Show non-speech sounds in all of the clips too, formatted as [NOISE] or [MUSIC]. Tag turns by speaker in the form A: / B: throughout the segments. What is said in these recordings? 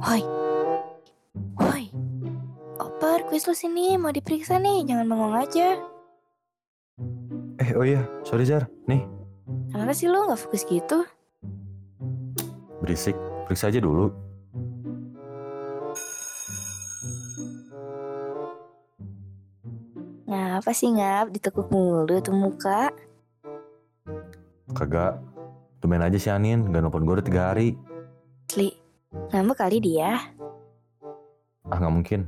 A: Woi. Woi. Oper, kuis lu sini, mau diperiksa nih, jangan bengong aja.
B: Eh, oh iya, sorry Jar. Nih,
A: Kenapa sih lu nggak fokus gitu?
B: berisik. Periksa aja dulu.
A: Nah, apa sih ngap, ditekuk mulu tuh muka.
B: Kagak. Tumben aja si Anin, gak nelfon gue udah tiga hari.
A: Sli, ngambek kali dia.
B: Ah, gak mungkin.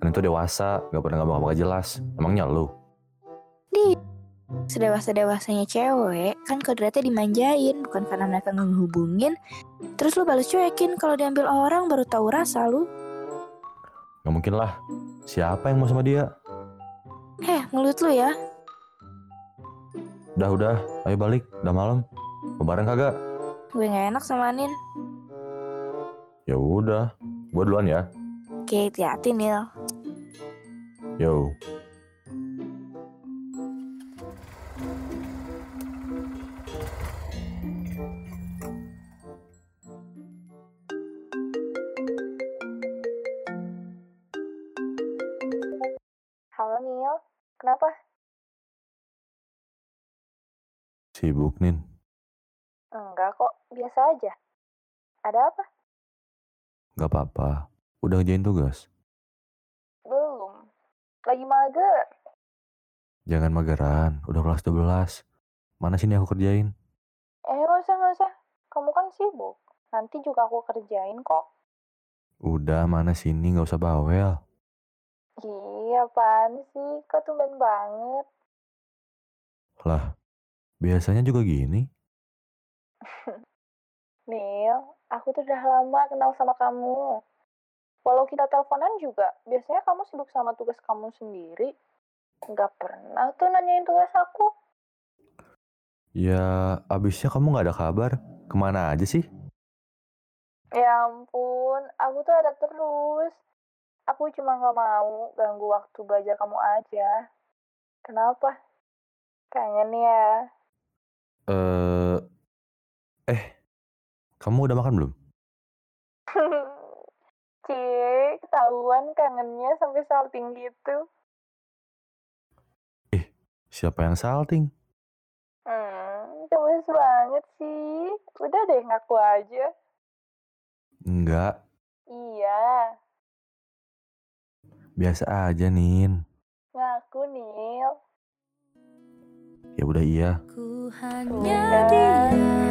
B: Anin tuh dewasa, gak pernah ngomong-ngomong jelas. Emangnya lu?
A: Sedewasa-dewasanya cewek, kan kodratnya dimanjain, bukan karena mereka nggak ngehubungin. Terus lu balas cuekin, kalau diambil orang baru tahu rasa lu.
B: Gak mungkin lah. Siapa yang mau sama dia?
A: Heh, mulut lu ya.
B: Udah, udah. Ayo balik. Udah malam. Mau bareng kagak?
A: Gue nggak enak sama Anin.
B: Ya udah. Gue duluan ya.
A: Oke, hati-hati, Nil.
B: Yo.
A: Halo, Nil. Kenapa?
B: Sibuk, Nin.
A: Enggak kok, biasa aja. Ada apa?
B: Gak apa-apa. Udah ngerjain tugas.
A: Belum. Lagi mager.
B: Jangan mageran. Udah kelas 12. Mana sini aku kerjain?
A: Eh, nggak usah, nggak usah. Kamu kan sibuk. Nanti juga aku kerjain kok.
B: Udah, mana sini gak usah bawel.
A: Iya, apaan sih? Kok tumben banget?
B: Lah, biasanya juga gini.
A: Nil, aku tuh udah lama kenal sama kamu. Walau kita teleponan juga, biasanya kamu sibuk sama tugas kamu sendiri. Nggak pernah tuh nanyain tugas aku.
B: Ya, abisnya kamu nggak ada kabar. Kemana aja sih?
A: Ya ampun, aku tuh ada terus. Aku cuma nggak mau ganggu waktu belajar kamu aja. Kenapa? Kangen ya. [LAUGHS]
B: Eh, eh, kamu udah makan belum?
A: Cie, ketahuan kangennya sampai salting gitu.
B: Siapa yang salting?
A: Hmm, gemes banget sih. Udah deh ngaku aja.
B: Enggak,
A: Iya,
B: biasa aja, Nin.
A: ngaku Nil.
B: Ya udah iya.
C: Ku hanya
A: Tuh kan.
C: dia